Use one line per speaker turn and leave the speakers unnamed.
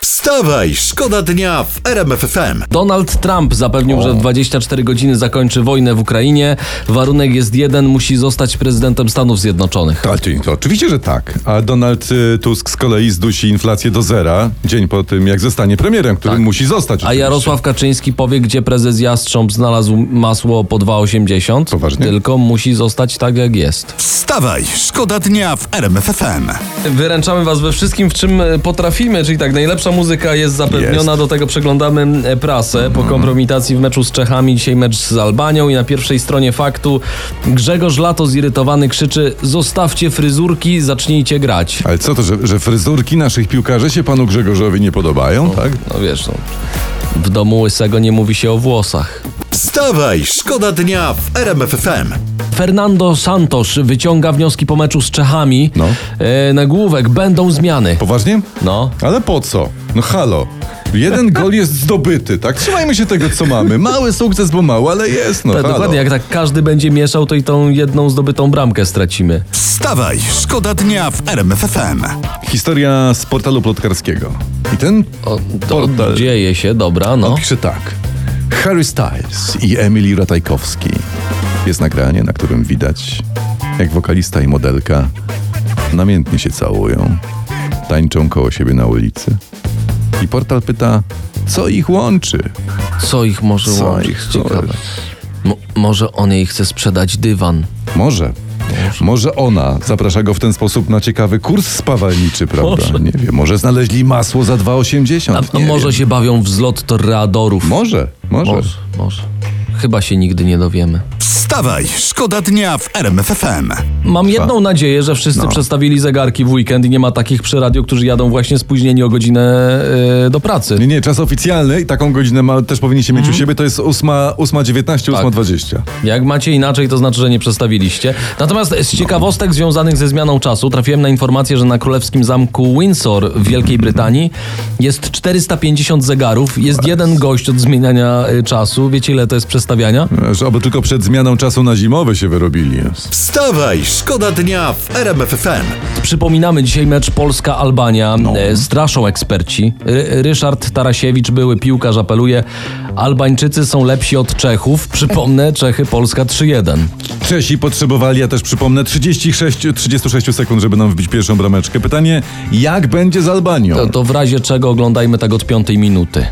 Wstawaj, szkoda dnia w RMFFM.
Donald Trump zapewnił, że w 24 godziny zakończy wojnę w Ukrainie. Warunek jest jeden, musi zostać prezydentem Stanów Zjednoczonych.
Tak, czyli to oczywiście, że tak. A Donald y, Tusk z kolei zdusi inflację do zera dzień po tym, jak zostanie premierem, którym musi zostać.
Tak. A
oczywiście.
Jarosław Kaczyński powie, gdzie prezes Jastrząb znalazł masło po 2,80.
Poważnie?
Tylko musi zostać tak, jak jest.
Wstawaj, szkoda dnia w RMFFM.
Wyręczamy was we wszystkim, w czym e, potrafimy, czyli tak, najlepsza muzyka jest zapewniona,
Jest. Mhm.
do tego przeglądamy e, prasę po kompromitacji w meczu z Czechami, dzisiaj mecz z Albanią i na pierwszej stronie faktu Grzegorz Lato zirytowany krzyczy zostawcie fryzurki, zacznijcie grać.
Ale co to, że, że fryzurki naszych piłkarzy się panu Grzegorzowi nie podobają, tak?
No wiesz, no, w domu łysego nie mówi się o włosach.
Wstawaj, szkoda dnia w RMFFM.
Fernando Santos wyciąga wnioski po meczu z Czechami.
No.
E, nagłówek, będą zmiany.
Poważnie?
No.
Ale po co? No halo. Jeden gol jest zdobyty, tak? Trzymajmy się tego, co mamy. Mały sukces, bo mało, ale jest, no
Tak,
halo.
dokładnie, jak tak każdy będzie mieszał, to i tą jedną zdobytą bramkę stracimy.
Wstawaj, szkoda dnia w RMFFM.
Historia z portalu plotkarskiego. I ten
O, to
portal...
dzieje się, dobra, no.
On pisze tak. Harry Styles i Emily Ratajkowski. Jest nagranie, na którym widać, jak wokalista i modelka namiętnie się całują, tańczą koło siebie na ulicy. I portal pyta, co ich łączy?
Co ich może
Co
łączyć?
ich
Ciekawe.
łączy?
Mo- może on jej chce sprzedać dywan.
Może. Może ona zaprasza go w ten sposób na ciekawy kurs spawalniczy, prawda?
Może.
Nie wiem, może znaleźli masło za 2,80.
A, a
nie
może
wiem.
się bawią w zlot torreadorów.
Może, może.
może, może. Chyba się nigdy nie dowiemy.
Wstawaj, szkoda dnia w RMFFM.
Mam jedną nadzieję, że wszyscy
No.
przestawili zegarki w weekend i nie ma takich przy radio, którzy jadą właśnie spóźnieni o godzinę e, do pracy.
Nie, nie, czas oficjalny i taką godzinę ma, też powinniście mieć u siebie, to jest 8.19, 8.20.
Jak macie inaczej, to znaczy, że nie przestawiliście. Natomiast z ciekawostek związanych ze zmianą czasu trafiłem na informację, że na królewskim zamku Windsor w Wielkiej Brytanii jest 450 zegarów, jest jeden gość od zmieniania y, czasu. Wiecie, ile to jest przestawiania?
Że oby tylko przed zmianą czasu na zimowe się wyrobili.
Wstawaj, szkoda dnia w RMFFM.
Przypominamy dzisiaj mecz Polska-Albania. E, Straszą eksperci. Ry- Ryszard Tarasiewicz, były piłkarz, apeluje. Albańczycy są lepsi od Czechów. Przypomnę, Czechy Polska 3-1.
Czesi potrzebowali, ja też przypomnę, 36, 36 sekund, żeby nam wbić pierwszą brameczkę. Pytanie, jak będzie z Albanią?
To, to w razie czego oglądajmy tak od piątej minuty.